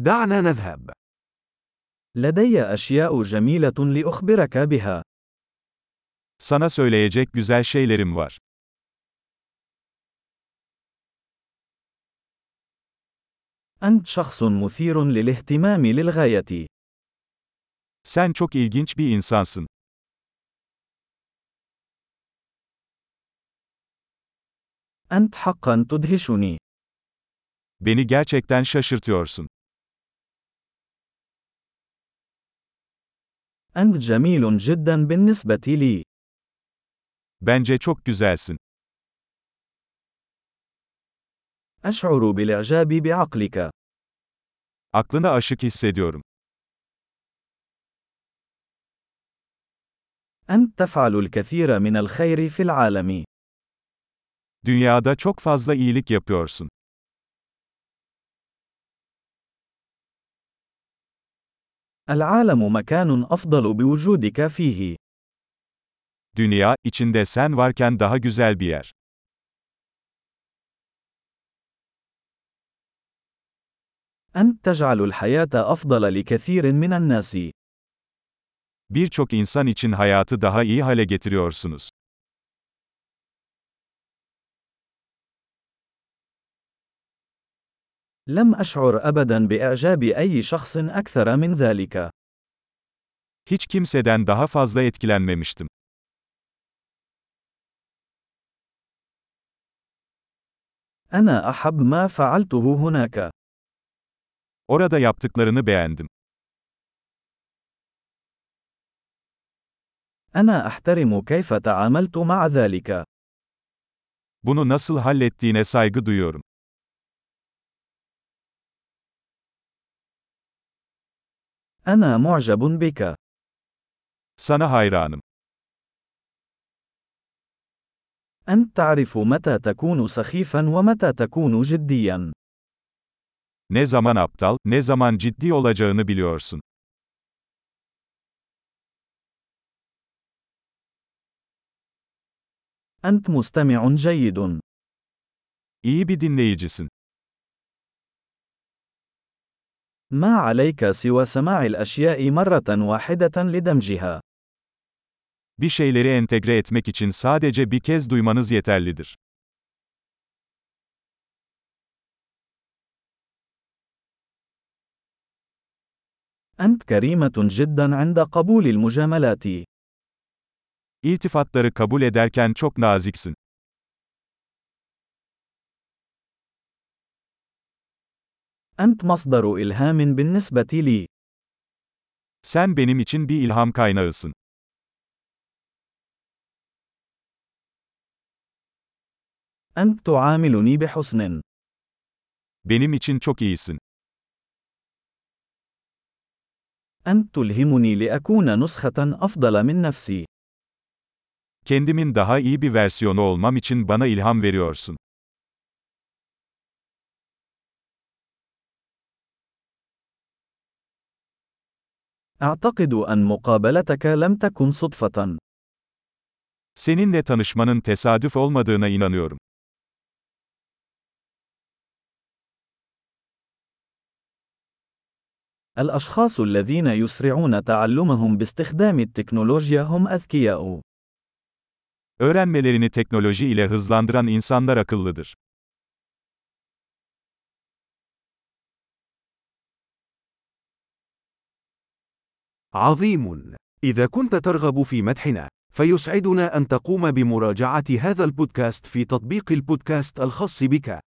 دعنا نذهب. لدي أشياء جميلة لأخبرك بها. Sana söyleyecek güzel şeylerim var. أنت شخص مثير للاهتمام للغاية. Sen çok ilginç bir insansın. أنت حقا تدهشني. Beni gerçekten şaşırtıyorsun. أنت جميل جدا بالنسبة لي. Bence çok güzelsin. أشعر بالإعجاب بعقلك. Aklına aşık hissediyorum. أنت تفعل الكثير من الخير في العالم. Dünyada çok fazla iyilik yapıyorsun. العالم مكان أفضل بوجودك فيه. Dünya, içinde sen varken daha güzel bir yer. أنت تجعل الحياة أفضل لكثير من الناس. Birçok insan için hayatı daha iyi hale getiriyorsunuz. لم أشعر أبدا بإعجاب أي شخص أكثر من ذلك. Hiç kimseden daha fazla etkilenmemiştim. أنا أحب ما فعلته هناك. Orada yaptıklarını beğendim. أنا أحترم كيف تعاملت مع ذلك. Bunu nasıl hallettiğine saygı duyuyorum. أنا معجب بك. Sana hayranım. أنت تعرف متى تكون سخيفا ومتى تكون جديا. Ne zaman aptal, ne zaman ciddi olacağını biliyorsun. أنت مستمع جيد. İyi bir dinleyicisin. ما عليك سوى سماع الأشياء مرة واحدة لدمجها. Bir şeyleri entegre etmek için sadece bir kez duymanız yeterlidir. أنت كريمة جدا عند قبول المجاملات. İltifatları kabul ederken çok naziksin. أنت مصدر إلهام بالنسبة لي. Sen benim için bir ilham kaynağısın. أنت تعاملني بحسن. Benim için çok iyisin. أنت تلهمني لأكون نسخة أفضل من نفسي. Kendimin daha iyi bir versiyonu olmam için bana ilham veriyorsun. أعتقد أن مقابلتك لم تكن صدفة. Seninle tanışmanın tesadüf olmadığına inanıyorum. الأشخاص الذين يسرعون تعلمهم باستخدام التكنولوجيا هم أذكياء. Öğrenmelerini teknoloji ile hızlandıran insanlar akıllıdır. عظيم! إذا كنت ترغب في مدحنا، فيسعدنا أن تقوم بمراجعة هذا البودكاست في تطبيق البودكاست الخاص بك.